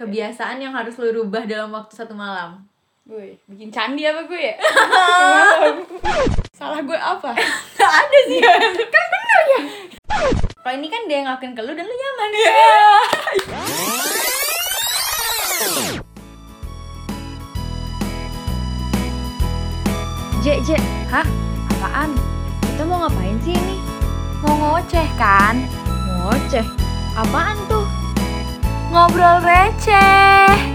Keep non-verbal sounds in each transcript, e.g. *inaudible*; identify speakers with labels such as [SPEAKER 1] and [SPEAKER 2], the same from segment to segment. [SPEAKER 1] kebiasaan yang harus lu rubah dalam waktu satu malam
[SPEAKER 2] Gue bikin candi apa gue
[SPEAKER 1] *laughs*
[SPEAKER 2] ya? Semalam. Salah gue apa? Iya,
[SPEAKER 1] Gak ada sih kan bener ya kalau ini kan dia yang ngelakuin ke lu dan lu nyaman ya
[SPEAKER 2] Iya.
[SPEAKER 3] Jek, Jek. Hah? Apaan? Kita mau ngapain sih ini? Mau ngoceh kan? Ngoceh? Apaan tuh? Ngobrol receh.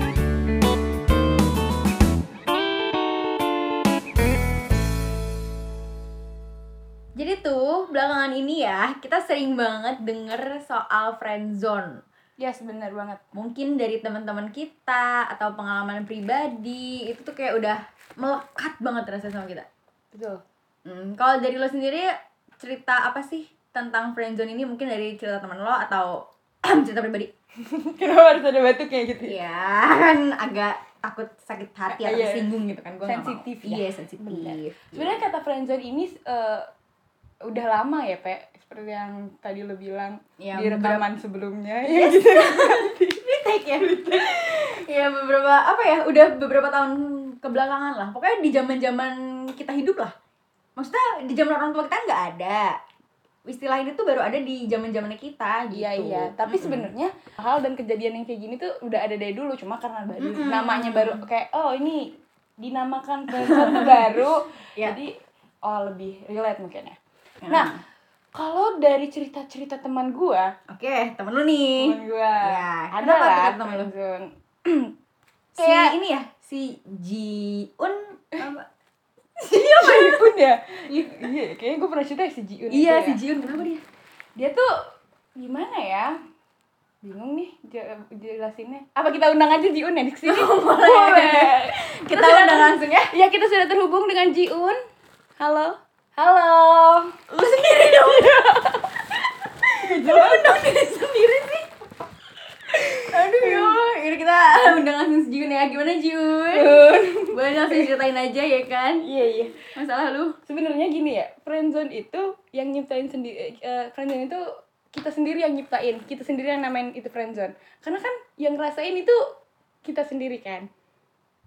[SPEAKER 1] jadi tuh belakangan ini ya kita sering banget denger soal friend zone
[SPEAKER 2] Yes, bener banget.
[SPEAKER 1] mungkin dari teman-teman kita atau pengalaman pribadi itu tuh kayak udah melekat banget rasanya sama kita
[SPEAKER 2] Betul.
[SPEAKER 1] Hmm, kalau dari lo sendiri cerita apa sih tentang friendzone ini mungkin dari cerita teman lo atau *clears throat* cerita pribadi?
[SPEAKER 2] Kenapa harus ada batuknya gitu?
[SPEAKER 1] Ya *laughs* kan agak takut sakit hati atau
[SPEAKER 2] Iya.
[SPEAKER 1] tersinggung gitu kan gue
[SPEAKER 2] Sensitif ya.
[SPEAKER 1] Iya sensitif.
[SPEAKER 2] Bener. Sebenarnya kata friendzone ini eh, udah lama ya, Pe. Seperti yang tadi lo bilang
[SPEAKER 1] Ya,
[SPEAKER 2] di rekaman sebelumnya.
[SPEAKER 1] Iya,
[SPEAKER 2] Ya, gitu.
[SPEAKER 1] kan. *laughs* Retake ya. ya beberapa apa ya udah beberapa tahun kebelakangan lah. Pokoknya di zaman zaman kita hidup lah. Maksudnya di zaman orang tua kita nggak ada. Istilah ini tuh baru ada di zaman zamannya kita gitu.
[SPEAKER 2] Iya iya, tapi sebenarnya hal dan kejadian yang kayak gini tuh udah ada dari dulu, cuma karena baru
[SPEAKER 1] Mm-mm.
[SPEAKER 2] namanya baru kayak oh ini dinamakan sesuatu
[SPEAKER 1] *laughs*
[SPEAKER 2] baru,
[SPEAKER 1] Iya.
[SPEAKER 2] jadi oh lebih relate mungkin ya. Nah kalau dari cerita-cerita teman gua,
[SPEAKER 1] Oke, temen lu nih.
[SPEAKER 2] teman gua
[SPEAKER 1] Iya,
[SPEAKER 2] ada
[SPEAKER 1] kenapa
[SPEAKER 2] lah
[SPEAKER 1] tuh teman lu?
[SPEAKER 2] *laughs* friendzone.
[SPEAKER 1] si
[SPEAKER 2] Kayak-
[SPEAKER 1] ini ya si Jiun apa?
[SPEAKER 2] Si Jiun ya, iya, kayaknya gua pernah cerita ya, si Jiun. itu
[SPEAKER 1] iya
[SPEAKER 2] ya.
[SPEAKER 1] si Jiun kenapa dia
[SPEAKER 2] Dia tuh gimana ya? bingung nih je- jelasinnya apa kita undang aja Jiun ya di sini
[SPEAKER 1] *laughs*
[SPEAKER 2] boleh
[SPEAKER 1] *laughs* Oh, kita undang langsung *laughs* ya
[SPEAKER 2] Ya kita sudah terhubung dengan Jiun. Halo. Halo.
[SPEAKER 1] lu sendiri dong lu undang diri sendiri sih aduh ya ini kita *laughs* undang langsung si Jiun ya gimana Jiun boleh langsung ceritain aja ya kan
[SPEAKER 2] Iya iya.
[SPEAKER 1] masalah lu
[SPEAKER 2] Sebenarnya gini ya, friendzone itu yang nyiptain sendiri eh, friendzone itu kita sendiri yang nyiptain, kita sendiri yang namain itu friendzone. Karena kan yang ngerasain itu kita sendiri kan.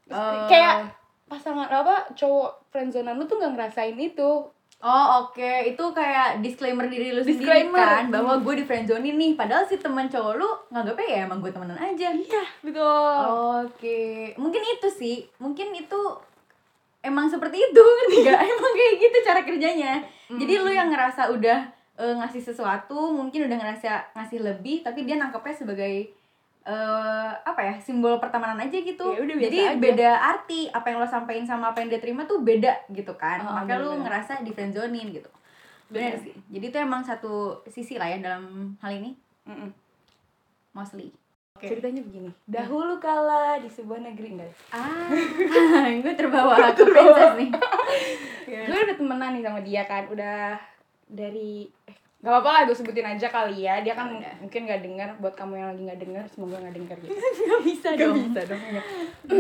[SPEAKER 2] Terus
[SPEAKER 1] Eh.
[SPEAKER 2] Kayak pasangan apa cowok friendzonean lu tuh nggak ngerasain itu.
[SPEAKER 1] Oh oke, itu kayak disclaimer diri lu sendiri
[SPEAKER 2] Disclaimer.
[SPEAKER 1] kan Bahwa gue di friendzone nih, padahal si teman cowok lu nganggapnya ya emang gue temenan aja Iya,
[SPEAKER 2] Betul.
[SPEAKER 1] Oke, mungkin itu sih, mungkin itu emang seperti itu, *laughs* ngerti nggak? emang kayak gitu cara kerjanya. Jadi lu yang ngerasa udah eh, ngasih sesuatu, mungkin udah ngerasa ngasih lebih, tapi dia nangkepnya sebagai eh apa ya simbol pertemanan aja gitu.
[SPEAKER 2] Ya udah, biasa
[SPEAKER 1] Jadi
[SPEAKER 2] aja.
[SPEAKER 1] beda arti apa yang lo sampein sama apa yang dia terima tuh beda gitu kan.
[SPEAKER 2] Oh,
[SPEAKER 1] Makanya lu
[SPEAKER 2] bener-bener.
[SPEAKER 1] ngerasa di friendzone-in gitu. Benar
[SPEAKER 2] Bener.
[SPEAKER 1] sih. Jadi itu emang satu sisi lah ya dalam hal ini
[SPEAKER 2] Mm-mm.
[SPEAKER 1] mostly. Oh. Oke.
[SPEAKER 2] Ceritanya begini. Dahulu kala di sebuah negeri enggak
[SPEAKER 1] Ah, *laughs* gue terbawa Iya. ke princess nih.
[SPEAKER 2] gue udah temenan nih sama dia kan udah dari eh,
[SPEAKER 1] Iya.
[SPEAKER 2] gak apa-apa lah gue sebutin aja kali ya dia kan
[SPEAKER 1] Udah.
[SPEAKER 2] mungkin gak dengar buat kamu yang lagi gak dengar semoga gak dengar gitu *clears throat*
[SPEAKER 1] Gak bisa iya.
[SPEAKER 2] Gak bisa dong enggak.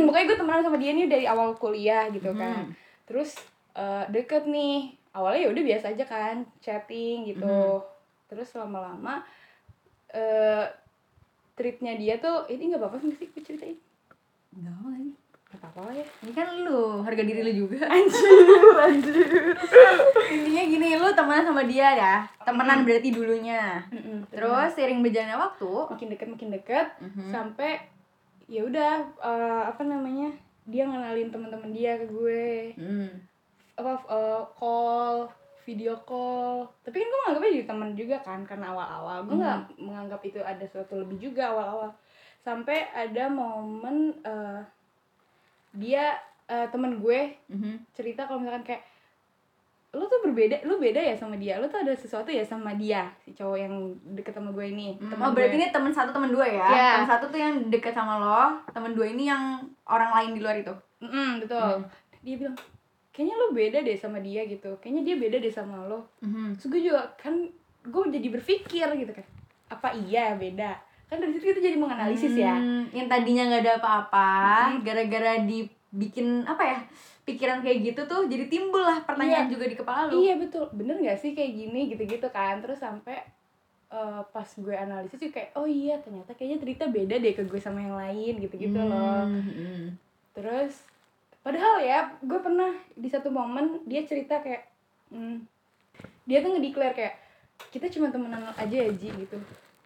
[SPEAKER 2] pokoknya gue temenan sama dia nih dari awal kuliah gitu kan
[SPEAKER 1] Hmm.
[SPEAKER 2] terus eh, deket nih awalnya ya udah biasa aja kan chatting gitu
[SPEAKER 1] Mhm.
[SPEAKER 2] terus lama-lama eh treatnya dia tuh ini nggak apa-apa sih gue ceritain
[SPEAKER 1] Gak mau lagi.
[SPEAKER 2] nggak apa-apa lah
[SPEAKER 1] *laughs*
[SPEAKER 2] ya
[SPEAKER 1] Ini kan lu, harga diri lu juga. *laughs* Anjir, anjir. Intinya gini, lu temenan sama dia ya. Temenan berarti dulunya. Terus sering berjalannya waktu,
[SPEAKER 2] makin deket makin deket
[SPEAKER 1] Mhm.
[SPEAKER 2] sampai ya udah eh, apa namanya dia ngenalin teman-teman dia ke gue
[SPEAKER 1] hmm.
[SPEAKER 2] apa eh, call video call tapi kan gue menganggapnya jadi teman juga kan karena awal-awal gue nggak
[SPEAKER 1] Hmm.
[SPEAKER 2] menganggap itu ada sesuatu lebih juga awal-awal sampai ada momen eh, dia eh, temen gue
[SPEAKER 1] Mhm.
[SPEAKER 2] cerita kalau misalkan kayak lu tuh berbeda lu beda ya sama dia lu tuh ada sesuatu ya sama dia si cowok yang deket sama gue ini
[SPEAKER 1] Oh,
[SPEAKER 2] teman
[SPEAKER 1] berarti
[SPEAKER 2] gue.
[SPEAKER 1] ini temen satu, temen dua ya?
[SPEAKER 2] Iya.
[SPEAKER 1] Temen satu tuh yang deket sama lo, temen dua ini yang orang lain di luar itu.
[SPEAKER 2] Mm, betul. Dia bilang, kayaknya lo beda deh sama dia gitu. Kayaknya dia beda deh sama lo.
[SPEAKER 1] Mm-hmm.
[SPEAKER 2] Terus gue juga kan, gue jadi berpikir gitu kan. Apa iya beda? Kan dari situ kita jadi menganalisis ya.
[SPEAKER 1] Hmm, yang tadinya nggak ada apa-apa gara-gara dibikin apa ya pikiran kayak gitu tuh jadi Iya. timbul lah pertanyaan juga di kepala lu
[SPEAKER 2] Iya betul, bener gak sih kayak gini gitu-gitu kan. Terus sampai eh, pas gue analisis juga kayak oh iya ternyata kayaknya cerita beda deh ke gue sama yang lain gitu-gitu gitu
[SPEAKER 1] Hmm.
[SPEAKER 2] loh terus padahal ya gue pernah di satu momen dia cerita kayak hmm, dia tuh ngedeklar kayak kita cuma temenan aja ya Ji gitu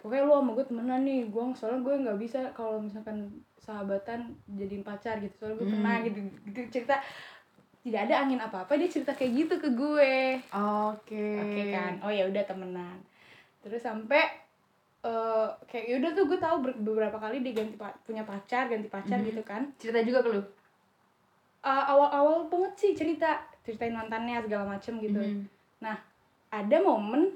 [SPEAKER 2] pokoknya lu sama gue temenan nih gue soalnya gue nggak bisa kalau misalkan sahabatan jadiin pacar gitu soalnya gue pernah
[SPEAKER 1] Hmm.
[SPEAKER 2] gitu gitu cerita tidak ada angin apa apa dia cerita kayak gitu ke gue
[SPEAKER 1] Oke.
[SPEAKER 2] oke kan oh ya udah temenan terus sampai eh kayak yaudah tuh gue tahu ber- beberapa kali dia ganti pa- punya pacar ganti pacar
[SPEAKER 1] Mhm.
[SPEAKER 2] gitu kan
[SPEAKER 1] Cerita juga ke lu.
[SPEAKER 2] Uh, awal-awal banget sih cerita ceritain mantannya segala macem gitu
[SPEAKER 1] Mhm.
[SPEAKER 2] ada momen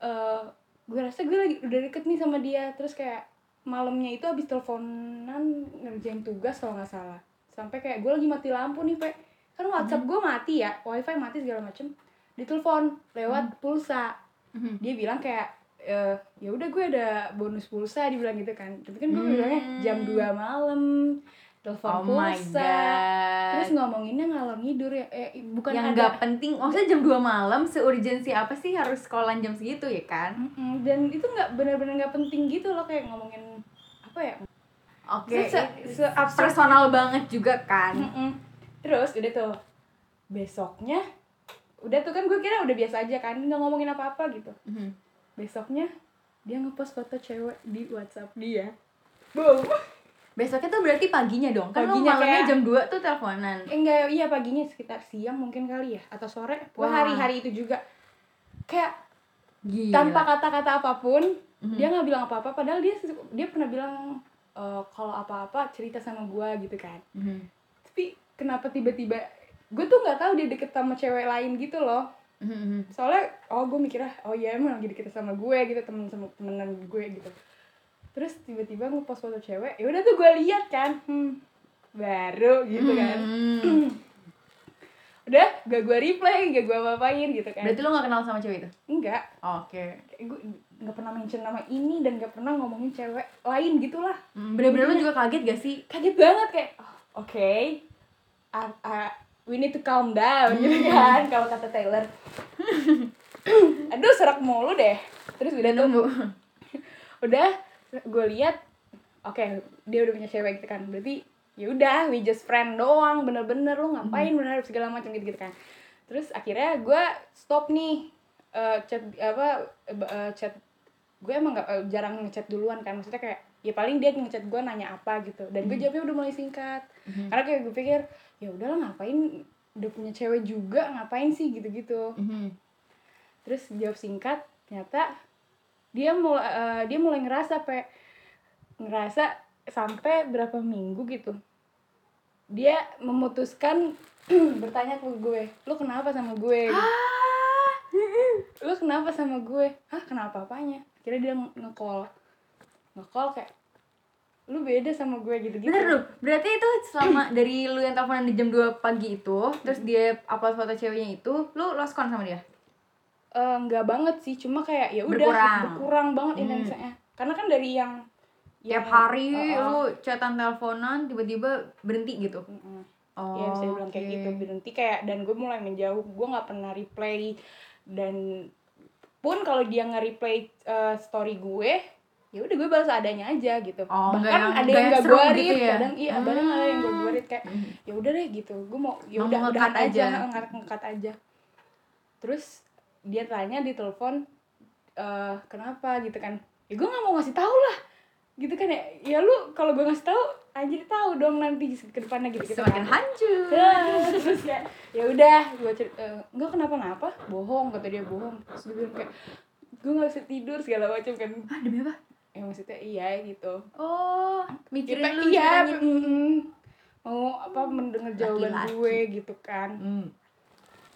[SPEAKER 2] eh gue rasa gue lagi udah deket nih sama dia terus kayak malamnya itu abis teleponan ngerjain tugas kalau nggak salah sampai kayak gue lagi mati lampu nih pe kan WhatsApp
[SPEAKER 1] Mhm.
[SPEAKER 2] gue mati ya WiFi mati segala macem ditelepon lewat pulsa
[SPEAKER 1] Mhm.
[SPEAKER 2] dia bilang kayak eh ya udah gue ada bonus pulsa dibilang gitu kan tapi kan gue bilangnya jam
[SPEAKER 1] Hmm.
[SPEAKER 2] 2 malam telepon
[SPEAKER 1] Oh
[SPEAKER 2] pulsa
[SPEAKER 1] my god.
[SPEAKER 2] terus ngomonginnya ngalor ngidur ya eh, bukan
[SPEAKER 1] Eh, yang
[SPEAKER 2] ada
[SPEAKER 1] nggak penting, maksudnya jam 2 malam seurgensi apa sih harus sekolah jam segitu ya kan?
[SPEAKER 2] Mm-mm, dan itu nggak benar-benar nggak penting gitu loh kayak ngomongin apa ya
[SPEAKER 1] Oke.
[SPEAKER 2] se, se absurd
[SPEAKER 1] Personal banget juga kan.
[SPEAKER 2] Mm-mm. terus udah tuh besoknya udah tuh kan gue kira udah biasa aja kan nggak ngomongin apa-apa gitu
[SPEAKER 1] Mhm.
[SPEAKER 2] besoknya dia ngepost foto cewek di WhatsApp dia boom
[SPEAKER 1] Besoknya tuh berarti paginya dong. Kan
[SPEAKER 2] Paginya
[SPEAKER 1] lu malamnya
[SPEAKER 2] kayak-
[SPEAKER 1] jam 2 tuh teleponan.
[SPEAKER 2] enggak iya paginya sekitar siang mungkin kali ya atau sore gue
[SPEAKER 1] Wah.
[SPEAKER 2] hari-hari itu juga kayak
[SPEAKER 1] Gila.
[SPEAKER 2] tanpa kata-kata apapun
[SPEAKER 1] Iya, Mhm.
[SPEAKER 2] dia nggak bilang apa-apa padahal dia dia pernah bilang "Eh, kalau apa-apa cerita sama gue gitu kan
[SPEAKER 1] Mhm.
[SPEAKER 2] tapi kenapa tiba-tiba gue tuh nggak tahu dia deket sama cewek lain gitu loh
[SPEAKER 1] Mhm.
[SPEAKER 2] soalnya oh gue mikirnya oh iya emang lagi deket sama gue gitu temen sama temenan gue gitu terus tiba-tiba ngepost foto cewek ya udah tuh gue lihat kan hmm, baru gitu kan
[SPEAKER 1] Mhm.
[SPEAKER 2] udah gak gue reply gak gue apa-apain gitu kan
[SPEAKER 1] Berarti lu gak kenal sama cewek itu?
[SPEAKER 2] enggak
[SPEAKER 1] Oke.
[SPEAKER 2] kayak gue Eh, nggak pernah mention nama ini dan gak pernah ngomongin cewek lain gitulah
[SPEAKER 1] Mm, Bener-bener lu juga kaget gak sih?
[SPEAKER 2] kaget banget kayak oh, oke Ah, ah, we need to calm down gitu kan kalau kata Taylor *laughs* aduh serak mulu deh terus udah tuh
[SPEAKER 1] Nunggu.
[SPEAKER 2] *laughs* udah gue lihat oke dia udah punya cewek gitu kan berarti ya udah we just friend doang bener-bener lu ngapain bener segala macam gitu gitu kan terus akhirnya gue stop nih eh, chat apa eh, chat gue emang gak, eh, jarang ngechat duluan kan maksudnya kayak ya paling dia ngechat gue nanya apa gitu dan gue jawabnya udah mulai singkat
[SPEAKER 1] Mhm.
[SPEAKER 2] karena kayak gue pikir ya udahlah ngapain udah punya cewek juga ngapain sih gitu-gitu
[SPEAKER 1] Mhm.
[SPEAKER 2] terus jawab singkat ternyata dia mulai eh, dia mulai ngerasa pe ngerasa sampai berapa minggu gitu dia memutuskan *clears throat* bertanya ke gue lu kenapa sama
[SPEAKER 1] *gasps*
[SPEAKER 2] gue Gitu.
[SPEAKER 1] Ah.
[SPEAKER 2] lu kenapa sama gue hah kenapa apanya akhirnya dia nge-call nge-call kayak lu beda sama gue gitu gitu
[SPEAKER 1] Bentar lu, berarti itu selama *clears throat* dari lu yang teleponan di jam 2 pagi itu Terus dia upload foto ceweknya itu, lu lost count sama dia?
[SPEAKER 2] Eh, nggak banget sih cuma kayak ya udah
[SPEAKER 1] Berkurang.
[SPEAKER 2] berkurang banget
[SPEAKER 1] Hmm.
[SPEAKER 2] intensitasnya karena kan dari yang
[SPEAKER 1] Tiap
[SPEAKER 2] yang-
[SPEAKER 1] hari
[SPEAKER 2] Iya. Heeh.
[SPEAKER 1] lu chatan teleponan, tiba-tiba berhenti gitu?
[SPEAKER 2] Mm-mm.
[SPEAKER 1] Oh,
[SPEAKER 2] ya bisa bilang kayak
[SPEAKER 1] oke.
[SPEAKER 2] gitu berhenti kayak dan gue mulai menjauh gue nggak pernah replay dan pun kalau dia nge replay eh, story gue ya udah gue balas adanya aja gitu
[SPEAKER 1] Oh, nggak
[SPEAKER 2] bahkan
[SPEAKER 1] yang-
[SPEAKER 2] ada
[SPEAKER 1] nggak
[SPEAKER 2] yang
[SPEAKER 1] yang
[SPEAKER 2] gak
[SPEAKER 1] seru
[SPEAKER 2] gue
[SPEAKER 1] gitu
[SPEAKER 2] read
[SPEAKER 1] ya?
[SPEAKER 2] kadang iya kadang ada yang gue
[SPEAKER 1] Hmm.
[SPEAKER 2] gue read kayak ya udah deh gitu gue mau ya
[SPEAKER 1] Mau
[SPEAKER 2] udah
[SPEAKER 1] nge-cut
[SPEAKER 2] udahan aja
[SPEAKER 1] aja.
[SPEAKER 2] ngangkat ngangkat aja terus dia tanya di telepon eh kenapa gitu kan ya gue nggak mau ngasih tahu lah gitu kan ya ya lu kalau gue ngasih tahu anjir tahu dong nanti ke depannya gitu gitu
[SPEAKER 1] Semakin hancur
[SPEAKER 2] Nah, terus ya ya udah gue cer eh, nggak kenapa-napa bohong kata dia bohong terus dia bilang kayak gue nggak bisa tidur segala macam kan
[SPEAKER 1] Ah, demi apa?
[SPEAKER 2] ya maksudnya iya gitu
[SPEAKER 1] Oh, mikirin
[SPEAKER 2] kita
[SPEAKER 1] lu
[SPEAKER 2] iya
[SPEAKER 1] caranya.
[SPEAKER 2] mm-mm. mau apa mendengar jawaban
[SPEAKER 1] Laki-laki.
[SPEAKER 2] gue gitu kan
[SPEAKER 1] Hmm.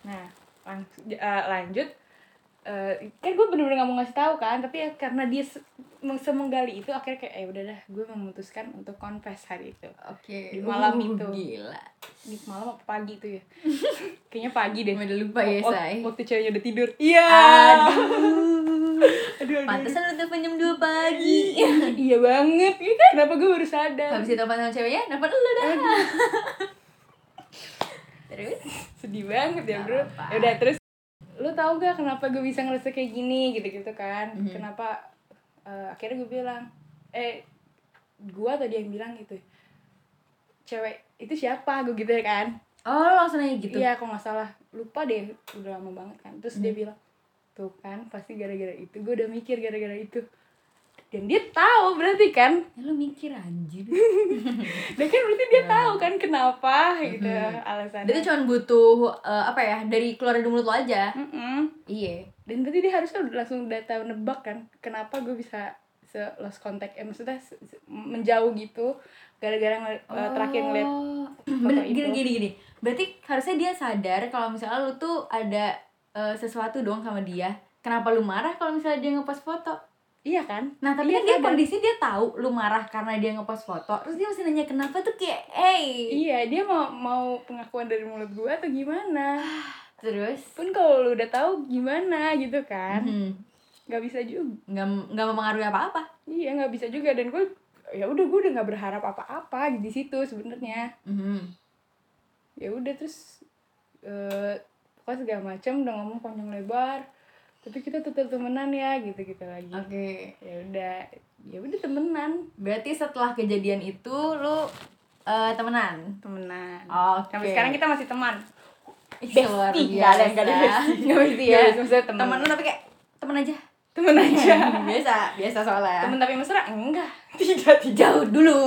[SPEAKER 2] nah lang- eh, lanjut Eh, kan gue bener-bener gak mau ngasih tahu kan tapi ya karena dia se- semenggali itu akhirnya kayak ya udah dah gue memutuskan untuk confess hari itu
[SPEAKER 1] Oke,
[SPEAKER 2] Di malam
[SPEAKER 1] Uh,
[SPEAKER 2] itu.
[SPEAKER 1] Gila
[SPEAKER 2] di malam apa pagi itu ya *laughs* kayaknya pagi deh
[SPEAKER 1] Gua Udah lupa ya,
[SPEAKER 2] Oh,
[SPEAKER 1] Shay
[SPEAKER 2] Waktu ceweknya udah tidur. Iya.
[SPEAKER 1] Aduh
[SPEAKER 2] Aduh, aduh, aduh.
[SPEAKER 1] Pantesan lu telepon jam 2 pagi
[SPEAKER 2] iya banget. Iya kan? Kenapa gue baru sadar?
[SPEAKER 1] Habis ditelepon sama ceweknya, telepon lu dah Terus?
[SPEAKER 2] Sedih banget ya,
[SPEAKER 1] Gak
[SPEAKER 2] Bro.
[SPEAKER 1] apa-apa.
[SPEAKER 2] Ya udah terus lu tau gak kenapa gue bisa ngerasa kayak gini gitu-gitu kan
[SPEAKER 1] Mhm.
[SPEAKER 2] kenapa eh, akhirnya gue bilang eh gue tadi yang bilang gitu cewek itu siapa gue gitu ya kan
[SPEAKER 1] Oh, lo langsung nanya gitu. Hmm.
[SPEAKER 2] iya kalau nggak salah lupa deh udah lama banget kan terus dia bilang tuh kan pasti gara-gara itu gue udah mikir gara-gara itu dan dia tahu berarti kan
[SPEAKER 1] Ya, lo mikir anjir.
[SPEAKER 2] dia kan berarti dia tahu kan kenapa gitu alasannya
[SPEAKER 1] Dia tuh Iya. Hmm. cuma butuh eh, apa ya dari keluar dari mulut lo aja.
[SPEAKER 2] Mm-mm.
[SPEAKER 1] Iya.
[SPEAKER 2] dan berarti dia harusnya udah langsung udah tahu nebak kan kenapa gue bisa se lost contact eh maksudnya se- se- menjauh gitu gara-gara ngel- eh, terakhir
[SPEAKER 1] *clears throat*
[SPEAKER 2] ngeliat
[SPEAKER 1] Oh.
[SPEAKER 3] Oh.
[SPEAKER 1] Bener,
[SPEAKER 2] itu.
[SPEAKER 1] gini gini gini. Berarti harusnya dia sadar kalau misalnya lu tuh ada eh, sesuatu dong sama dia. Kenapa lu marah kalau misalnya dia ngepost foto?
[SPEAKER 2] iya kan
[SPEAKER 1] Nah, tapi
[SPEAKER 2] Iya,
[SPEAKER 1] kan dia
[SPEAKER 2] sadar.
[SPEAKER 1] kondisi dia tahu lu marah karena dia ngepost foto. Terus dia masih nanya kenapa tuh kayak, "Hey."
[SPEAKER 2] iya dia mau mau pengakuan dari mulut gue atau gimana
[SPEAKER 1] Terus
[SPEAKER 2] pun kalau lu udah tahu gimana gitu kan
[SPEAKER 1] hmm,
[SPEAKER 2] nggak bisa juga
[SPEAKER 1] nggak nggak mempengaruhi apa-apa.
[SPEAKER 2] iya nggak bisa juga dan gue ya udah gue udah nggak berharap apa-apa di situ sebenarnya
[SPEAKER 1] Mhm.
[SPEAKER 2] ya udah terus eh pokoknya segala macam udah ngomong panjang lebar tapi kita tetap temenan ya gitu gitu lagi
[SPEAKER 1] Oke.
[SPEAKER 2] ya udah ya udah temenan
[SPEAKER 1] Berarti setelah kejadian itu lu eh, temenan.
[SPEAKER 2] temenan
[SPEAKER 1] Oke. Iya,
[SPEAKER 2] sampai sekarang kita masih teman
[SPEAKER 1] Ih,
[SPEAKER 2] Bestie.
[SPEAKER 1] luar
[SPEAKER 2] Nggak ada- nggak ada
[SPEAKER 1] biasa. *laughs*
[SPEAKER 2] bestie.
[SPEAKER 1] Nggak bestie ya.
[SPEAKER 2] Nggak ada, maksudnya temen.
[SPEAKER 1] Temen lu Iya. tapi kayak temen
[SPEAKER 2] *laughs*
[SPEAKER 1] aja.
[SPEAKER 2] temen aja
[SPEAKER 1] biasa, biasa soalnya.
[SPEAKER 2] temen tapi mesra enggak
[SPEAKER 1] tidak jauh
[SPEAKER 2] *laughs*
[SPEAKER 1] dulu.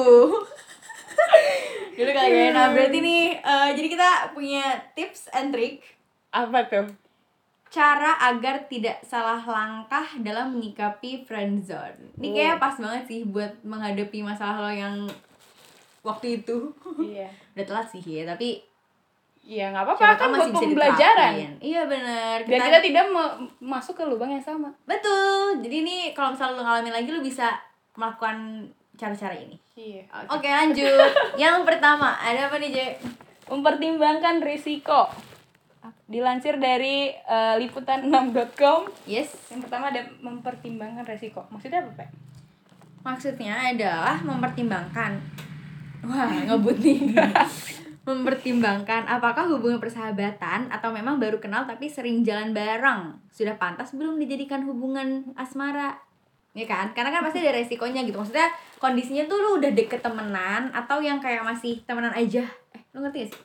[SPEAKER 1] dulu kali ya. Nah, berarti nih eh, jadi kita punya tips and trick
[SPEAKER 2] apa tuh
[SPEAKER 1] cara agar tidak salah langkah dalam menyikapi friendzone. Ini kayak
[SPEAKER 2] Oh.
[SPEAKER 1] pas banget sih buat menghadapi masalah lo yang waktu itu. *laughs*
[SPEAKER 2] iya
[SPEAKER 1] Udah telat sih ya, tapi
[SPEAKER 2] iya nggak apa-apa
[SPEAKER 1] siapa
[SPEAKER 2] kan
[SPEAKER 1] tahu
[SPEAKER 2] buat pembelajaran
[SPEAKER 1] diterapin. Iya benar.
[SPEAKER 2] dan kita tidak me- masuk ke lubang yang sama
[SPEAKER 1] Betul. Jadi ini kalau misalnya lu ngalamin lagi lu bisa melakukan cara-cara ini.
[SPEAKER 2] iya
[SPEAKER 1] Oke, lanjut. Yang pertama, ada apa nih, Je?
[SPEAKER 2] mempertimbangkan risiko dilansir dari eh, liputan6.com
[SPEAKER 1] Yes.
[SPEAKER 2] yang pertama ada mempertimbangkan risiko maksudnya apa pak
[SPEAKER 1] Maksudnya adalah mempertimbangkan. Wah, ngebut nih. mempertimbangkan apakah hubungan persahabatan atau memang baru kenal tapi sering jalan bareng sudah pantas belum dijadikan hubungan asmara ya kan karena kan pasti ada resikonya gitu maksudnya kondisinya tuh lu udah deket temenan atau yang kayak masih temenan aja eh lu ngerti gak sih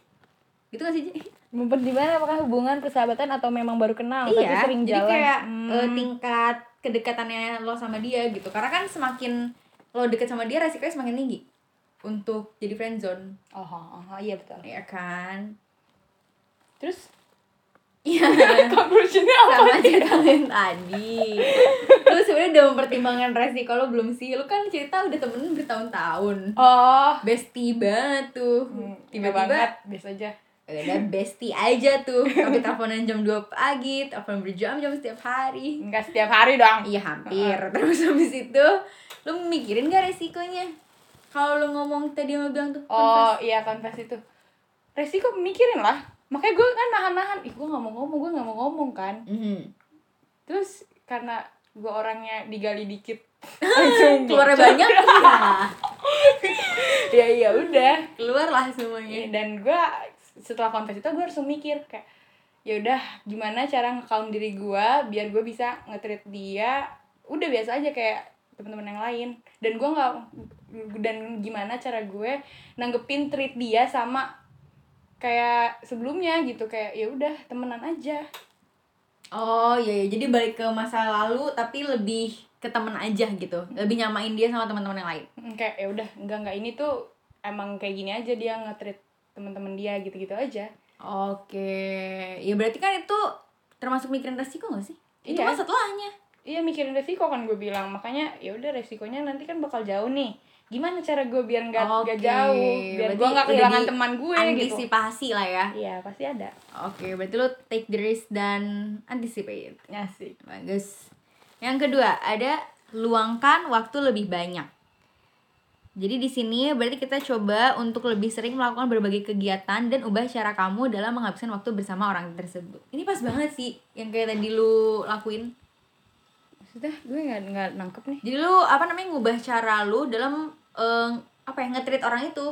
[SPEAKER 1] gitu gak sih Je?
[SPEAKER 2] mempertimbangkan apakah hubungan persahabatan atau memang baru kenal
[SPEAKER 1] iya,
[SPEAKER 2] tapi Oh, sering
[SPEAKER 1] jadi
[SPEAKER 2] jalan
[SPEAKER 1] kayak
[SPEAKER 2] Hmm.
[SPEAKER 1] eh, tingkat kedekatannya lo sama dia gitu. Karena kan semakin lo deket sama dia resikonya semakin tinggi untuk jadi friendzone,
[SPEAKER 2] oh, oh, oh, iya betul
[SPEAKER 1] ya kan?
[SPEAKER 2] *laughs* terus *laughs*
[SPEAKER 1] Iya.
[SPEAKER 2] conclusionnya
[SPEAKER 1] sama aja kalian tadi. Lo sebenarnya udah mempertimbangkan resiko lo belum sih? Lo kan cerita udah temenin bertahun-tahun.
[SPEAKER 2] oh
[SPEAKER 1] Bestie banget tuh.
[SPEAKER 2] tiba banget biasa aja
[SPEAKER 1] Ada bestie aja tuh. Tapi teleponan jam 2 pagi, telepon berjam-jam setiap hari.
[SPEAKER 2] enggak setiap hari dong
[SPEAKER 1] Iya hampir. Terus habis itu lu mikirin gak resikonya? Kalau lu ngomong tadi sama bilang tuh
[SPEAKER 2] oh
[SPEAKER 1] confess.
[SPEAKER 2] iya confess itu resiko mikirin lah makanya gue kan nahan-nahan ih gue nggak mau ngomong gue nggak mau ngomong kan
[SPEAKER 1] Mhm.
[SPEAKER 2] terus karena gue orangnya digali dikit *laughs* langsung
[SPEAKER 1] Keluarnya *laughs*
[SPEAKER 2] bocor.
[SPEAKER 1] banyak iya.
[SPEAKER 2] ya ya udah
[SPEAKER 1] Keluarlah semuanya.
[SPEAKER 2] Ya, dan gue setelah kontes itu gue harus mikir kayak ya udah gimana cara nge-count diri gue biar gue bisa nge-treat dia udah biasa aja kayak teman-teman yang lain dan gue nggak dan gimana cara gue nanggepin treat dia sama kayak sebelumnya gitu kayak ya udah temenan aja
[SPEAKER 1] Oh iya, iya. jadi balik ke masa lalu tapi lebih ke temen aja gitu. Lebih nyamain dia sama teman-teman yang lain.
[SPEAKER 2] Mm, kayak ya udah enggak enggak ini tuh emang kayak gini aja dia nge-treat teman-teman dia gitu-gitu aja
[SPEAKER 1] Oke. Ya berarti kan itu termasuk mikirin resiko gak sih? Itu
[SPEAKER 2] Iya.
[SPEAKER 1] kan setelahnya.
[SPEAKER 2] Iya mikirin resiko kan gue bilang makanya ya udah resikonya nanti kan bakal jauh nih gimana cara gue biar nggak nggak
[SPEAKER 1] Oke,
[SPEAKER 2] jauh
[SPEAKER 1] berarti
[SPEAKER 2] biar gue nggak
[SPEAKER 1] udah
[SPEAKER 2] kehilangan
[SPEAKER 1] di-
[SPEAKER 2] teman gue gitu
[SPEAKER 1] Antisipasi lah ya.
[SPEAKER 2] iya pasti ada
[SPEAKER 1] Oke, berarti lu take the risk dan anticipate.
[SPEAKER 2] ngasih
[SPEAKER 1] Bagus. Yang kedua, ada luangkan waktu lebih banyak. Jadi di sini berarti kita coba untuk lebih sering melakukan berbagai kegiatan dan ubah cara kamu dalam menghabiskan waktu bersama orang tersebut. Ini pas banget sih yang kayak tadi lu lakuin.
[SPEAKER 2] sudah gue nggak nggak nangkep nih
[SPEAKER 1] Jadi lu apa namanya ngubah cara lu dalam eh, apa ya nge-treat orang itu.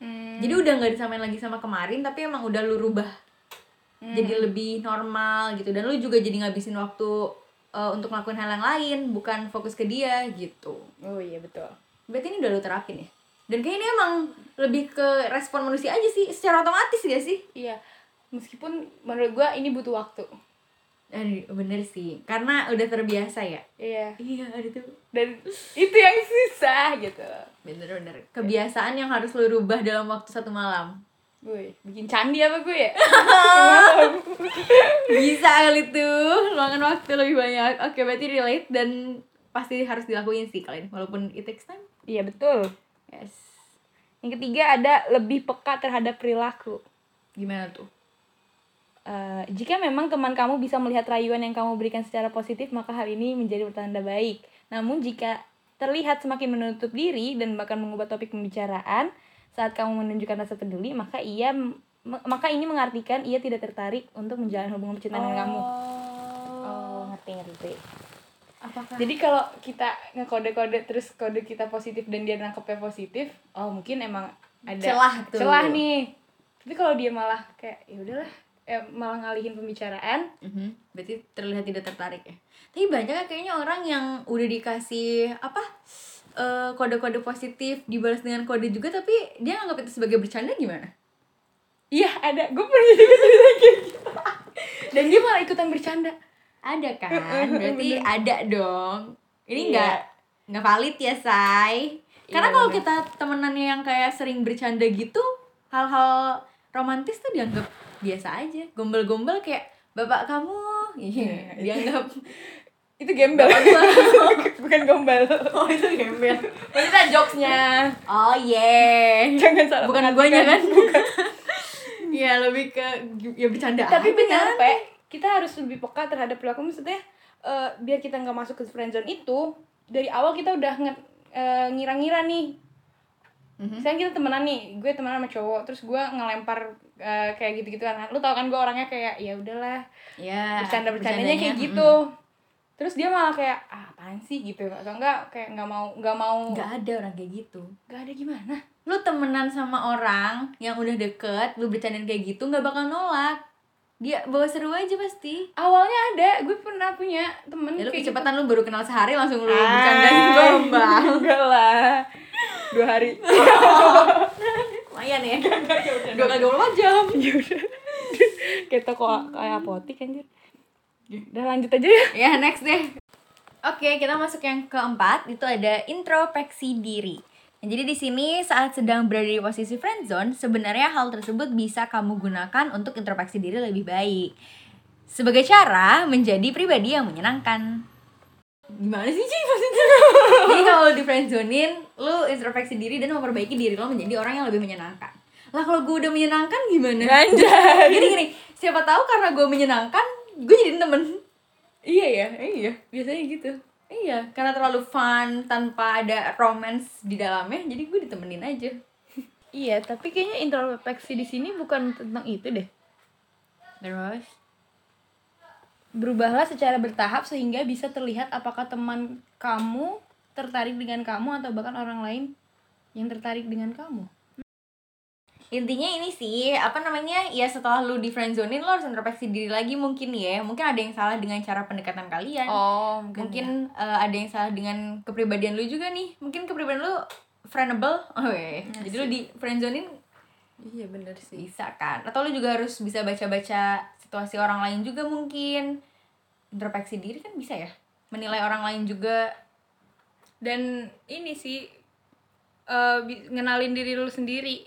[SPEAKER 2] hmm.
[SPEAKER 1] Jadi udah nggak disamain lagi sama kemarin tapi emang udah lu rubah jadi lebih normal gitu dan lu juga jadi ngabisin waktu eh, untuk ngelakuin hal yang lain bukan fokus ke dia gitu
[SPEAKER 2] oh iya betul
[SPEAKER 1] berarti ini udah lu terapin ya dan kayaknya ini emang lebih ke respon manusia aja sih secara otomatis gak sih
[SPEAKER 2] iya meskipun menurut gua ini butuh waktu
[SPEAKER 1] Eh, bener sih karena udah terbiasa ya
[SPEAKER 2] iya
[SPEAKER 1] iya ada tuh
[SPEAKER 2] dan itu yang susah gitu
[SPEAKER 1] bener-bener kebiasaan yang harus lu rubah dalam waktu satu malam
[SPEAKER 2] gue bikin candi apa gue ya
[SPEAKER 1] bisa kali tuh luangkan waktu lebih banyak oke berarti relate dan pasti harus dilakuin sih kalian walaupun it takes time
[SPEAKER 2] *laughs* iya betul
[SPEAKER 1] yes
[SPEAKER 2] yang ketiga ada lebih peka terhadap perilaku
[SPEAKER 1] gimana tuh
[SPEAKER 2] Eh, jika memang teman kamu bisa melihat rayuan yang kamu berikan secara positif, maka hal ini menjadi pertanda baik. Namun jika terlihat semakin menutup diri dan bahkan mengubah topik pembicaraan saat kamu menunjukkan rasa peduli, maka ia m- maka ini mengartikan ia tidak tertarik untuk menjalin hubungan percintaan dengan kamu. Oh, ngerti ngerti.
[SPEAKER 1] apakah
[SPEAKER 2] Jadi kalau kita ngekode-kode terus kode kita positif dan dia nangkepnya positif, oh mungkin emang ada
[SPEAKER 1] Celah tuh.
[SPEAKER 2] celah nih. Tapi kalau dia malah kayak ya udahlah, eh, malah ngalihin pembicaraan,
[SPEAKER 1] Mhm, berarti terlihat tidak tertarik ya tapi banyak ya kayaknya orang yang udah dikasih apa eh, kode-kode positif dibalas dengan kode juga tapi dia nganggap itu sebagai bercanda gimana
[SPEAKER 2] Iya ada, gue pernah juga cerita kayak gitu Dan dia malah ikutan bercanda
[SPEAKER 1] ada *laughs* kan berarti ada dong ini nggak nggak valid ya say karena
[SPEAKER 2] Iya,
[SPEAKER 1] kalau
[SPEAKER 2] bener.
[SPEAKER 1] kita temenannya yang kayak sering bercanda gitu hal-hal romantis tuh dianggap biasa aja gombel-gombel kayak bapak kamu iya dianggap
[SPEAKER 2] Itu gembel *laughs* Bukan gombel
[SPEAKER 1] oh itu gembel
[SPEAKER 2] Maksudnya jokesnya
[SPEAKER 1] oh *laughs* yeah
[SPEAKER 2] Jangan salah
[SPEAKER 1] bukan guanya kan *laughs* Iya lebih ke ya bercanda
[SPEAKER 2] Tapi
[SPEAKER 1] aja. ya.
[SPEAKER 2] benar Pe Kita harus lebih peka terhadap perilaku Maksudnya eh, Biar kita nggak masuk ke friendzone itu Dari awal kita udah nge- eh, ngira-ngira nih
[SPEAKER 1] Mhm.
[SPEAKER 2] Misalnya kita temenan nih, gue temenan sama cowok, terus gue ngelempar eh, kayak gitu-gituan kan. Lu tau kan gue orangnya kayak ya udahlah,
[SPEAKER 1] ya
[SPEAKER 2] bercanda-bercandanya
[SPEAKER 1] bercandanya,
[SPEAKER 2] kayak
[SPEAKER 1] mhm.
[SPEAKER 2] gitu terus dia malah kayak ah, apaan sih gitu atau enggak kayak nggak mau nggak mau
[SPEAKER 1] mm, nggak ada orang kayak gitu
[SPEAKER 2] nggak ada gimana
[SPEAKER 1] lu temenan sama orang yang udah deket lu bercandain kayak gitu nggak bakal nolak dia bawa seru aja pasti
[SPEAKER 2] awalnya ada gue pernah punya temen
[SPEAKER 1] ya lu
[SPEAKER 2] kayak
[SPEAKER 1] kecepatan lu baru kenal sehari langsung lu
[SPEAKER 2] gitu. Ah,
[SPEAKER 1] *laughs* bercandain gombal
[SPEAKER 2] *laughs* enggak lah
[SPEAKER 1] *laughs*
[SPEAKER 2] dua hari
[SPEAKER 1] lumayan *laughs* ya dua kali dua puluh empat jam
[SPEAKER 2] Ya udah. kayak toko
[SPEAKER 1] Hmm.
[SPEAKER 2] kayak apotik anjir udah lanjut aja ya
[SPEAKER 1] ya next deh oke kita masuk yang keempat itu ada introspeksi diri Nah, jadi di sini saat sedang berada di posisi friendzone sebenarnya hal tersebut bisa kamu gunakan untuk introspeksi diri lebih baik sebagai cara menjadi pribadi yang menyenangkan gimana sih Ci maksudnya jadi kalau di friendzonein lu introspeksi diri dan memperbaiki diri lo menjadi orang yang lebih menyenangkan lah kalau gue udah menyenangkan gimana
[SPEAKER 2] Anjay.
[SPEAKER 1] gini gini siapa tahu karena gue menyenangkan gue jadi temen
[SPEAKER 2] iya ya iya biasanya gitu
[SPEAKER 1] Iya, karena terlalu fun tanpa ada romance di dalamnya, jadi gue ditemenin aja.
[SPEAKER 2] *laughs* iya tapi kayaknya introspeksi di sini bukan tentang itu deh
[SPEAKER 1] Terus?
[SPEAKER 2] Berubahlah secara bertahap sehingga bisa terlihat apakah teman kamu tertarik dengan kamu atau bahkan orang lain yang tertarik dengan kamu.
[SPEAKER 1] Intinya ini sih, apa namanya, ya setelah lu di friendzonein, lo harus introspeksi diri lagi mungkin ya. Mungkin ada yang salah dengan cara pendekatan kalian.
[SPEAKER 2] Oh,
[SPEAKER 1] mungkin eh, ada yang salah dengan kepribadian lu juga nih. Mungkin kepribadian lu friendable. *laughs* Oh, iya. Jadi lu di friendzonein
[SPEAKER 2] Iya bener sih.
[SPEAKER 1] bisa kan. Atau lu juga harus bisa baca-baca situasi orang lain juga mungkin. Introspeksi diri kan bisa ya. Menilai orang lain juga
[SPEAKER 2] Dan ini sih eh, bi- ngenalin diri lu sendiri.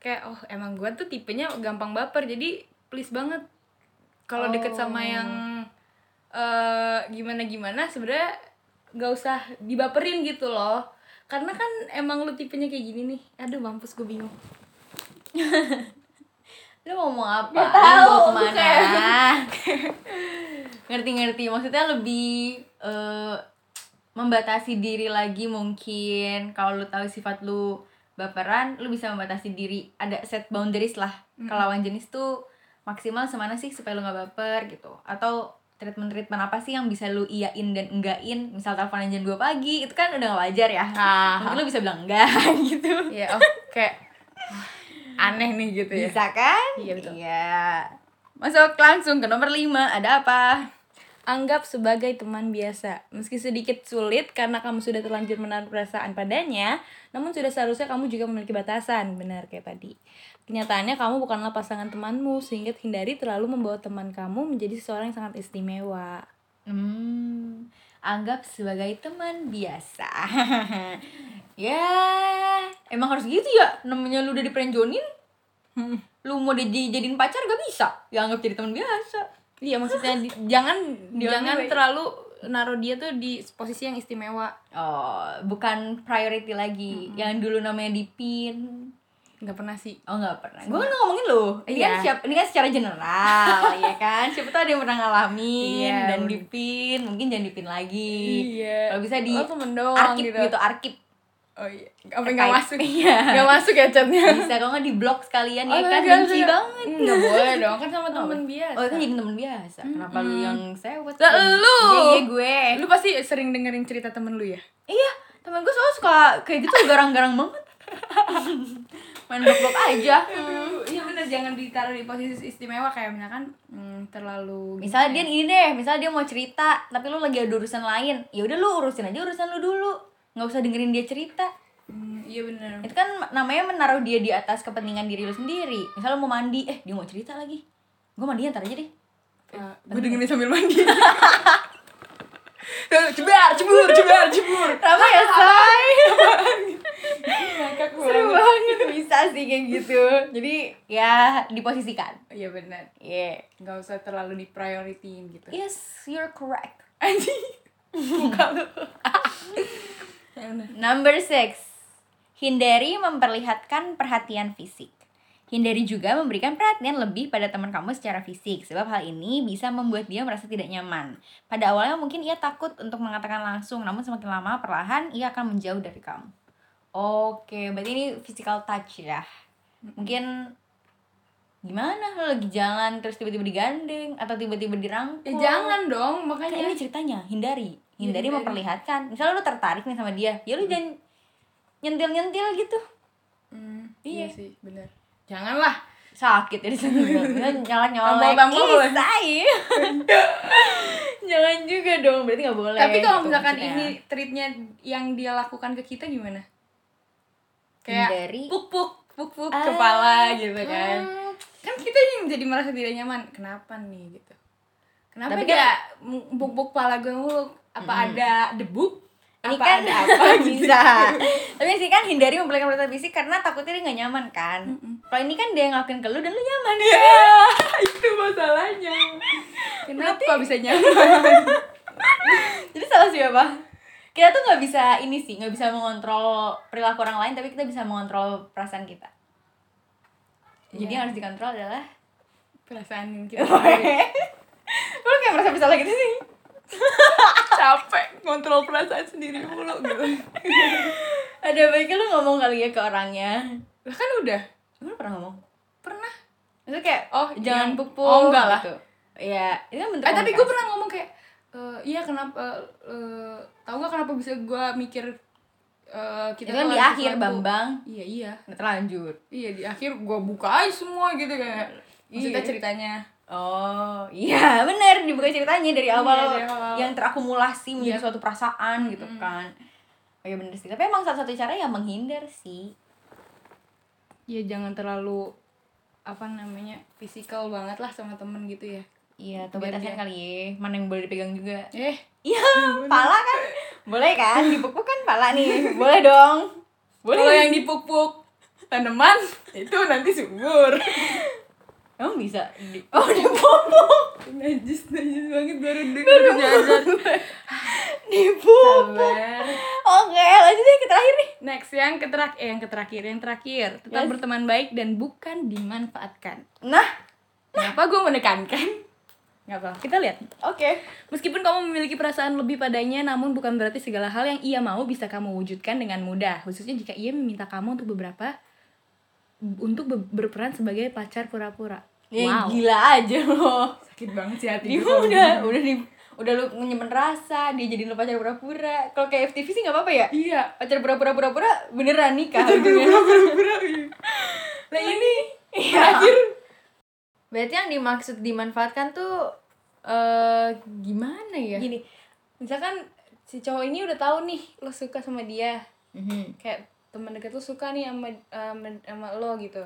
[SPEAKER 2] Kayak oh emang gua tuh tipenya gampang baper jadi please banget kalau deket sama yang gimana gimana sebenarnya nggak usah dibaperin gitu loh. Karena kan emang lu tipenya kayak gini nih. Aduh mampus gue bingung.
[SPEAKER 1] lu mau ngomong apa?
[SPEAKER 2] Nggak
[SPEAKER 1] Lu
[SPEAKER 2] tahu,
[SPEAKER 1] mau kemana?
[SPEAKER 2] bukan.
[SPEAKER 1] *laughs* Ngerti-ngerti, maksudnya lebih eh, membatasi diri lagi mungkin kalau lu tahu sifat lu baperan, lu bisa membatasi diri. Ada set boundaries lah. Kalau lawan jenis tuh maksimal semana sih supaya lu nggak baper gitu. Atau treatment-treatment apa sih yang bisa lu iyain dan enggakin? Misal teleponan jam 2 pagi, itu kan udah nggak wajar ya.
[SPEAKER 2] Ah.
[SPEAKER 1] Mungkin lu bisa bilang enggak *laughs* gitu.
[SPEAKER 2] Iya, oh, kayak *laughs* aneh nih gitu ya.
[SPEAKER 1] Bisa kan?
[SPEAKER 2] Iya, betul.
[SPEAKER 1] Iya. Masuk langsung ke nomor 5, ada apa?
[SPEAKER 2] Anggap sebagai teman biasa. Meski sedikit sulit karena kamu sudah terlanjur menaruh perasaan padanya, namun sudah seharusnya kamu juga memiliki batasan. Benar kayak tadi. Kenyataannya kamu bukanlah pasangan temanmu, sehingga hindari terlalu membawa teman kamu menjadi seseorang yang sangat istimewa.
[SPEAKER 1] Hmm, anggap sebagai teman biasa. *laughs* ya, emang harus gitu ya. Namanya lu udah diprenjonin, Hmm, lu mau dijadiin pacar gak bisa. Ya anggap jadi teman biasa.
[SPEAKER 2] Iya maksudnya di- jangan *laughs*
[SPEAKER 1] Dia
[SPEAKER 2] jangan
[SPEAKER 1] anyway.
[SPEAKER 2] terlalu naruh dia tuh di posisi yang istimewa.
[SPEAKER 1] Oh, bukan priority lagi. Yang dulu namanya dipin.
[SPEAKER 2] nggak pernah sih.
[SPEAKER 1] Oh nggak pernah. Gue kan ngomongin lu. Ini kan
[SPEAKER 2] Iya.
[SPEAKER 1] siap- ini kan secara
[SPEAKER 2] *laughs*
[SPEAKER 1] general, ya kan. Siapa tahu ada yang pernah ngalamin
[SPEAKER 2] Iya,
[SPEAKER 1] dan
[SPEAKER 2] bener.
[SPEAKER 1] dipin. Mungkin jangan dipin lagi.
[SPEAKER 2] Iya.
[SPEAKER 1] Kalau bisa di
[SPEAKER 2] Lo temen doang
[SPEAKER 1] arkip
[SPEAKER 2] gitu.
[SPEAKER 1] gitu, arkip.
[SPEAKER 2] Oh iya. Apa nggak
[SPEAKER 1] Type.
[SPEAKER 2] masuk?
[SPEAKER 1] Iya.
[SPEAKER 2] Nggak masuk ya chatnya.
[SPEAKER 1] bisa kalau nggak di blok sekalian ya
[SPEAKER 2] Oh,
[SPEAKER 1] kan
[SPEAKER 2] nggak,
[SPEAKER 1] benci
[SPEAKER 2] nggak.
[SPEAKER 1] banget
[SPEAKER 2] Nggak boleh dong kan sama temen biasa.
[SPEAKER 1] oh itu jadi temen biasa kenapa lu yang sewot
[SPEAKER 2] Lah, lu!
[SPEAKER 1] iya iya gue
[SPEAKER 2] Lu pasti sering dengerin cerita temen lu ya?
[SPEAKER 1] iya temen gue soalnya suka kayak gitu garang-garang banget *laughs* Mm. main blok-blok aja
[SPEAKER 2] Iya bener, jangan ditaruh di posisi istimewa kayak misalkan hmm, terlalu
[SPEAKER 1] misalnya dia ini deh misalnya dia mau cerita tapi lu lagi ada urusan lain ya udah lu urusin aja urusan lu dulu nggak usah dengerin dia cerita
[SPEAKER 2] Hmm, iya bener
[SPEAKER 1] itu kan namanya menaruh dia di atas kepentingan diri lu sendiri misalnya lu mau mandi eh dia mau cerita lagi gue mandi ntar aja deh
[SPEAKER 2] gue Ah, dengerin sambil *laughs* mandi
[SPEAKER 1] Eh, cebar cebur cebar cebur kenapa ya say *laughs* seru banget bisa sih kayak gitu jadi ya diposisikan
[SPEAKER 2] Iya bener
[SPEAKER 1] yeah
[SPEAKER 2] Gak usah terlalu diprioritiin gitu
[SPEAKER 1] yes you're correct
[SPEAKER 2] Anjing
[SPEAKER 1] number six hindari memperlihatkan perhatian fisik Hindari juga memberikan perhatian lebih pada teman kamu secara fisik, sebab hal ini bisa membuat dia merasa tidak nyaman. Pada awalnya mungkin ia takut untuk mengatakan langsung, namun semakin lama perlahan ia akan menjauh dari kamu. Oke, berarti ini physical touch ya. Mungkin gimana lo lagi jalan terus tiba-tiba digandeng atau tiba-tiba dirangkul?
[SPEAKER 2] Ya jangan dong
[SPEAKER 1] Kan
[SPEAKER 2] makanya
[SPEAKER 1] ini ceritanya, hindari.
[SPEAKER 2] Ya,
[SPEAKER 1] Hindari
[SPEAKER 2] hindari.
[SPEAKER 1] memperlihatkan. Misalnya lu tertarik nih sama dia, ya lu jangan nyentil-nyentil gitu.
[SPEAKER 2] Hmm,
[SPEAKER 1] Iya.
[SPEAKER 2] sih bener Janganlah
[SPEAKER 1] Sakit ya di
[SPEAKER 2] *laughs*
[SPEAKER 1] sana. Nyala-nyala. Ih,
[SPEAKER 2] Tampol-tampol boleh.
[SPEAKER 1] say. *laughs* Jangan juga dong, berarti nggak boleh.
[SPEAKER 2] Tapi kalau
[SPEAKER 1] gitu
[SPEAKER 2] misalkan
[SPEAKER 1] maksudnya.
[SPEAKER 2] ini treatnya yang dia lakukan ke kita gimana? Kayak
[SPEAKER 1] hindari
[SPEAKER 2] puk-puk, puk-puk
[SPEAKER 1] Ah.
[SPEAKER 2] kepala gitu kan.
[SPEAKER 1] Hmm,
[SPEAKER 2] Kan kita yang jadi merasa tidak nyaman. Kenapa nih gitu? Kenapa
[SPEAKER 1] Tapi kan- Hmm.
[SPEAKER 2] dia puk-puk kepala gue mulu? Apa ada debu?
[SPEAKER 1] Ini
[SPEAKER 2] apa
[SPEAKER 1] kan *laughs*
[SPEAKER 2] ada apa gitu?
[SPEAKER 1] bisa. *laughs* Tapi sih kan hindari memperlihatkan perasaan fisik karena takutnya dia nggak nyaman kan. Kalau ini kan dia yang ngelakuin ke lu dan lu nyaman.
[SPEAKER 2] *laughs* Itu masalahnya. Kenapa bisa nyaman?
[SPEAKER 1] Jadi salah siapa? Kita tuh nggak bisa ini sih, nggak bisa mengontrol perilaku orang lain, tapi kita bisa mengontrol perasaan kita. Jadi
[SPEAKER 2] Iya.
[SPEAKER 1] yang harus dikontrol
[SPEAKER 2] *laughs*
[SPEAKER 1] adalah.
[SPEAKER 2] *laughs* Perasaan yang kita
[SPEAKER 1] *laughs* Lu kayak merasa bersalah gitu sih.
[SPEAKER 2] capek kontrol perasaan sendiri mulu gitu.
[SPEAKER 1] Ada baiknya lu ngomong kali ya ke orangnya.
[SPEAKER 2] Lah kan udah
[SPEAKER 1] Lu pernah ngomong?
[SPEAKER 2] pernah
[SPEAKER 1] Itu kayak
[SPEAKER 2] Oh,
[SPEAKER 1] jangan
[SPEAKER 2] yang-
[SPEAKER 1] pupuk.
[SPEAKER 2] oh, enggak lah.
[SPEAKER 1] gitu. Iya, itu kan bentuk.
[SPEAKER 2] Eh tapi gue
[SPEAKER 1] komunikasi.
[SPEAKER 2] pernah ngomong kayak "Eh, iya kenapa eh, tahu gak kenapa bisa gue mikir eh, kita
[SPEAKER 1] itu kan
[SPEAKER 2] tuh
[SPEAKER 1] di
[SPEAKER 2] harus
[SPEAKER 1] akhir
[SPEAKER 2] sesuatu?"
[SPEAKER 1] Bambang.
[SPEAKER 2] Iya iya
[SPEAKER 1] Udah terlanjut.
[SPEAKER 2] iya di akhir gue buka aja semua gitu kayak maksudnya
[SPEAKER 1] Iya.
[SPEAKER 2] ceritanya
[SPEAKER 1] Oh iya *laughs* bener dibuka ceritanya Iya, dari awal,
[SPEAKER 2] dari awal.
[SPEAKER 1] yang terakumulasi menjadi
[SPEAKER 2] Iya.
[SPEAKER 1] suatu perasaan gitu
[SPEAKER 2] Mm-mm.
[SPEAKER 1] kan oh iya bener sih tapi emang satu-satu cara ya menghindar sih
[SPEAKER 2] ya jangan terlalu apa namanya fisikal banget lah sama temen gitu ya
[SPEAKER 1] iya atau
[SPEAKER 2] Biar
[SPEAKER 1] batasan
[SPEAKER 2] dia-
[SPEAKER 1] kali ya mana yang boleh dipegang juga
[SPEAKER 2] eh
[SPEAKER 1] *laughs* iya pala kan boleh kan dipukul kan pala *laughs* nih boleh dong
[SPEAKER 2] kalau yang dipupuk tanaman itu nanti subur
[SPEAKER 1] emang bisa di- *laughs* oh dipupuk
[SPEAKER 2] najis najis banget baru dengar jajan
[SPEAKER 1] dipupuk
[SPEAKER 2] Sabar.
[SPEAKER 1] oke lanjut deh ke terakhir nih
[SPEAKER 2] Next yang keterakhir, eh, yang keterakhir, yang terakhir tetap
[SPEAKER 1] Yes.
[SPEAKER 2] berteman baik dan bukan dimanfaatkan.
[SPEAKER 1] nah
[SPEAKER 2] Kenapa gue menekankan? Gak apa, kita lihat.
[SPEAKER 1] oke
[SPEAKER 2] Meskipun kamu memiliki perasaan lebih padanya, namun bukan berarti segala hal yang ia mau bisa kamu wujudkan dengan mudah. Khususnya jika ia meminta kamu untuk beberapa untuk be- berperan sebagai pacar pura-pura. Iya,
[SPEAKER 1] ya,
[SPEAKER 2] wow.
[SPEAKER 1] gila aja loh
[SPEAKER 2] Sakit banget sih hati
[SPEAKER 1] dia udah udah di udah lu nyimpen rasa dia jadi lu pacar pura-pura kalau kayak FTV sih nggak apa-apa ya
[SPEAKER 2] Iya.
[SPEAKER 1] pacar pura-pura pura-pura beneran nikah gitu ya.
[SPEAKER 3] Iya.
[SPEAKER 2] iya. Pura-pura, pura-pura. Lah ini
[SPEAKER 1] terakhir
[SPEAKER 3] Nah, Berarti yang dimaksud dimanfaatkan tuh eh gimana ya?
[SPEAKER 2] gini misalkan si cowok ini udah tahu nih lo suka sama dia
[SPEAKER 3] Mhm.
[SPEAKER 2] kayak teman dekat lu suka nih sama sama, sama lo gitu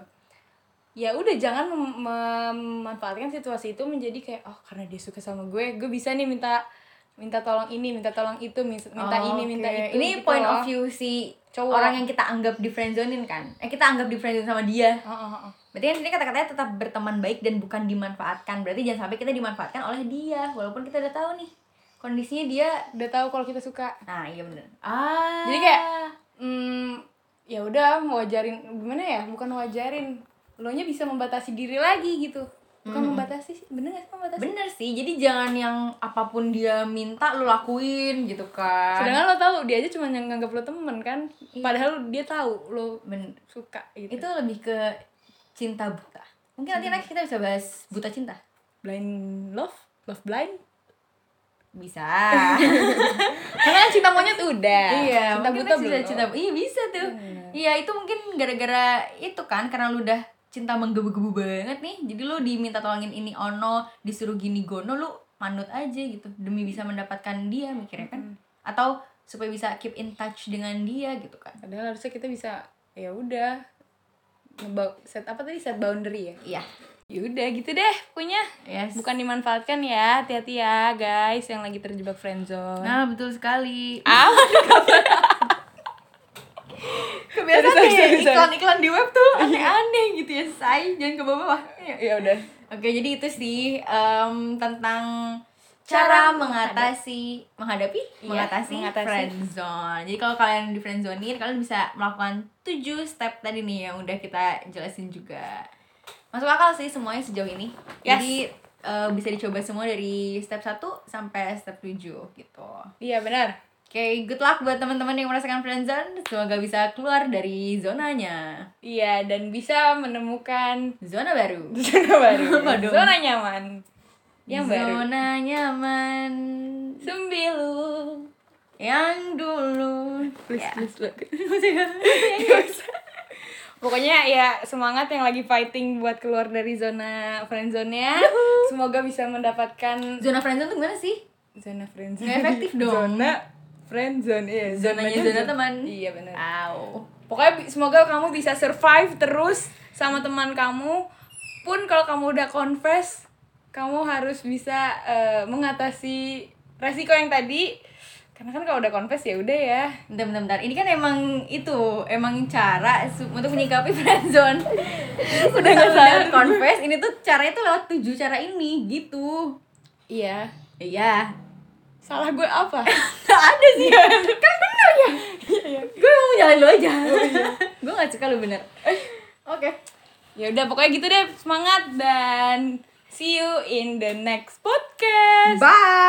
[SPEAKER 2] ya udah jangan mem- memanfaatkan situasi itu menjadi kayak oh karena dia suka sama gue gue bisa nih minta minta tolong ini minta tolong itu mis- minta
[SPEAKER 3] Oh,
[SPEAKER 2] ini minta
[SPEAKER 3] oke.
[SPEAKER 2] itu
[SPEAKER 1] Ini
[SPEAKER 2] gitu
[SPEAKER 1] point
[SPEAKER 2] loh.
[SPEAKER 1] of view si
[SPEAKER 2] Cowok.
[SPEAKER 1] orang yang kita anggap di friendzone-in kan. Eh kita anggap di friendzone sama dia.
[SPEAKER 2] Oh, oh, oh.
[SPEAKER 1] Berarti kan sini kata-katanya tetap berteman baik dan bukan dimanfaatkan. Berarti jangan sampai kita dimanfaatkan oleh dia walaupun kita udah tahu nih kondisinya dia
[SPEAKER 2] udah tahu kalau kita suka
[SPEAKER 1] Nah, iya bener Ah.
[SPEAKER 2] Jadi kayak, hmm, ya udah mau wajarin gimana ya bukan wajarin lo nya bisa membatasi diri lagi gitu bukan membatasi sih. bener gak sih membatasi
[SPEAKER 1] bener sih. Jadi jangan yang apapun dia minta lu lakuin gitu kan.
[SPEAKER 2] sedangkan lo tahu dia aja cuma yang nganggap lo temen kan padahal dia tahu lo
[SPEAKER 1] Ben-
[SPEAKER 2] suka gitu
[SPEAKER 1] itu lebih ke cinta buta. Mungkin nanti next kita bisa bahas buta cinta.
[SPEAKER 2] blind love love blind
[SPEAKER 1] Bisa.
[SPEAKER 2] karena kan cinta monyet udah
[SPEAKER 1] *laughs* iya,
[SPEAKER 2] cinta
[SPEAKER 1] mungkin
[SPEAKER 2] buta
[SPEAKER 1] next
[SPEAKER 2] belum
[SPEAKER 1] bisa cinta. Iya, bisa tuh. Iya, itu mungkin gara-gara itu kan karena lu udah cinta menggebu-gebu banget nih. Jadi lu diminta tolongin ini ono, disuruh gini gono, lu manut aja gitu demi bisa mendapatkan dia mikirnya kan. Atau supaya bisa keep in touch dengan dia gitu kan.
[SPEAKER 2] padahal harusnya kita bisa ya udah ngeba- set apa tadi set boundary ya
[SPEAKER 1] Iya.
[SPEAKER 2] ya udah gitu deh punya
[SPEAKER 1] Yes.
[SPEAKER 2] bukan dimanfaatkan ya hati-hati ya guys yang lagi terjebak friendzone
[SPEAKER 1] Nah, betul sekali. *laughs*
[SPEAKER 2] Aman
[SPEAKER 1] Kebiasaan
[SPEAKER 2] Sorry,
[SPEAKER 1] kayak
[SPEAKER 2] sorry, sorry.
[SPEAKER 1] iklan-iklan di web tuh aneh-aneh gitu ya, say. Jangan ke bawah-bawah. Iya.
[SPEAKER 2] ya udah
[SPEAKER 1] Oke, jadi itu sih em, tentang cara mengatasi menghadapi
[SPEAKER 2] Iya,
[SPEAKER 1] mengatasi,
[SPEAKER 2] mengatasi.
[SPEAKER 1] friendzone. Jadi kalau kalian di friendzonein, kalian bisa melakukan 7 step tadi nih yang udah kita jelasin juga. Masuk akal sih semuanya sejauh ini.
[SPEAKER 2] Yes.
[SPEAKER 1] Jadi eh, bisa dicoba semua dari step 1 sampai step 7 gitu.
[SPEAKER 2] iya benar
[SPEAKER 1] Oke, good luck buat teman-teman yang merasakan friendzone. Semoga bisa keluar dari zonanya.
[SPEAKER 2] iya dan bisa menemukan *laughs*
[SPEAKER 1] Zona baru.
[SPEAKER 2] zona
[SPEAKER 1] *laughs*
[SPEAKER 2] baru
[SPEAKER 1] Waduh.
[SPEAKER 2] zona nyaman yang baru
[SPEAKER 1] Zona nyaman.
[SPEAKER 2] sembilu
[SPEAKER 1] Yang dulu.
[SPEAKER 2] please
[SPEAKER 1] Ya.
[SPEAKER 2] please
[SPEAKER 1] *laughs*
[SPEAKER 2] *laughs* Iya, Pokoknya ya semangat yang lagi fighting buat keluar dari zona friendzone-nya. Semoga bisa mendapatkan
[SPEAKER 1] Zona friendzone tuh gimana sih?
[SPEAKER 2] zona friendzone.
[SPEAKER 1] Nggak efektif dong.
[SPEAKER 2] *laughs* Zona friendzone iya.
[SPEAKER 1] Zonanya
[SPEAKER 2] zonanya
[SPEAKER 1] zona
[SPEAKER 2] zon-
[SPEAKER 1] teman.
[SPEAKER 2] Iya benar.
[SPEAKER 1] Wow.
[SPEAKER 2] Pokoknya bi- semoga kamu bisa survive terus sama teman kamu. Pun kalau kamu udah confess, kamu harus bisa eh, mengatasi resiko yang tadi. Karena kan kalau udah confess ya udah ya.
[SPEAKER 1] Bentar, bentar, bentar. Ini kan emang itu, emang cara su- untuk menyikapi *laughs* friendzone. Udah nggak sadar confess, ini tuh caranya tuh lewat tujuh cara ini, gitu.
[SPEAKER 2] Iya.
[SPEAKER 1] Iya.
[SPEAKER 2] Salah gue apa?
[SPEAKER 1] Gak ada sih. kan bener ya. Oh, Gue mau nyalain lu aja. Gue gak suka lu bener. Oke.
[SPEAKER 2] ya udah pokoknya gitu deh semangat dan see you in the next podcast
[SPEAKER 1] Bye.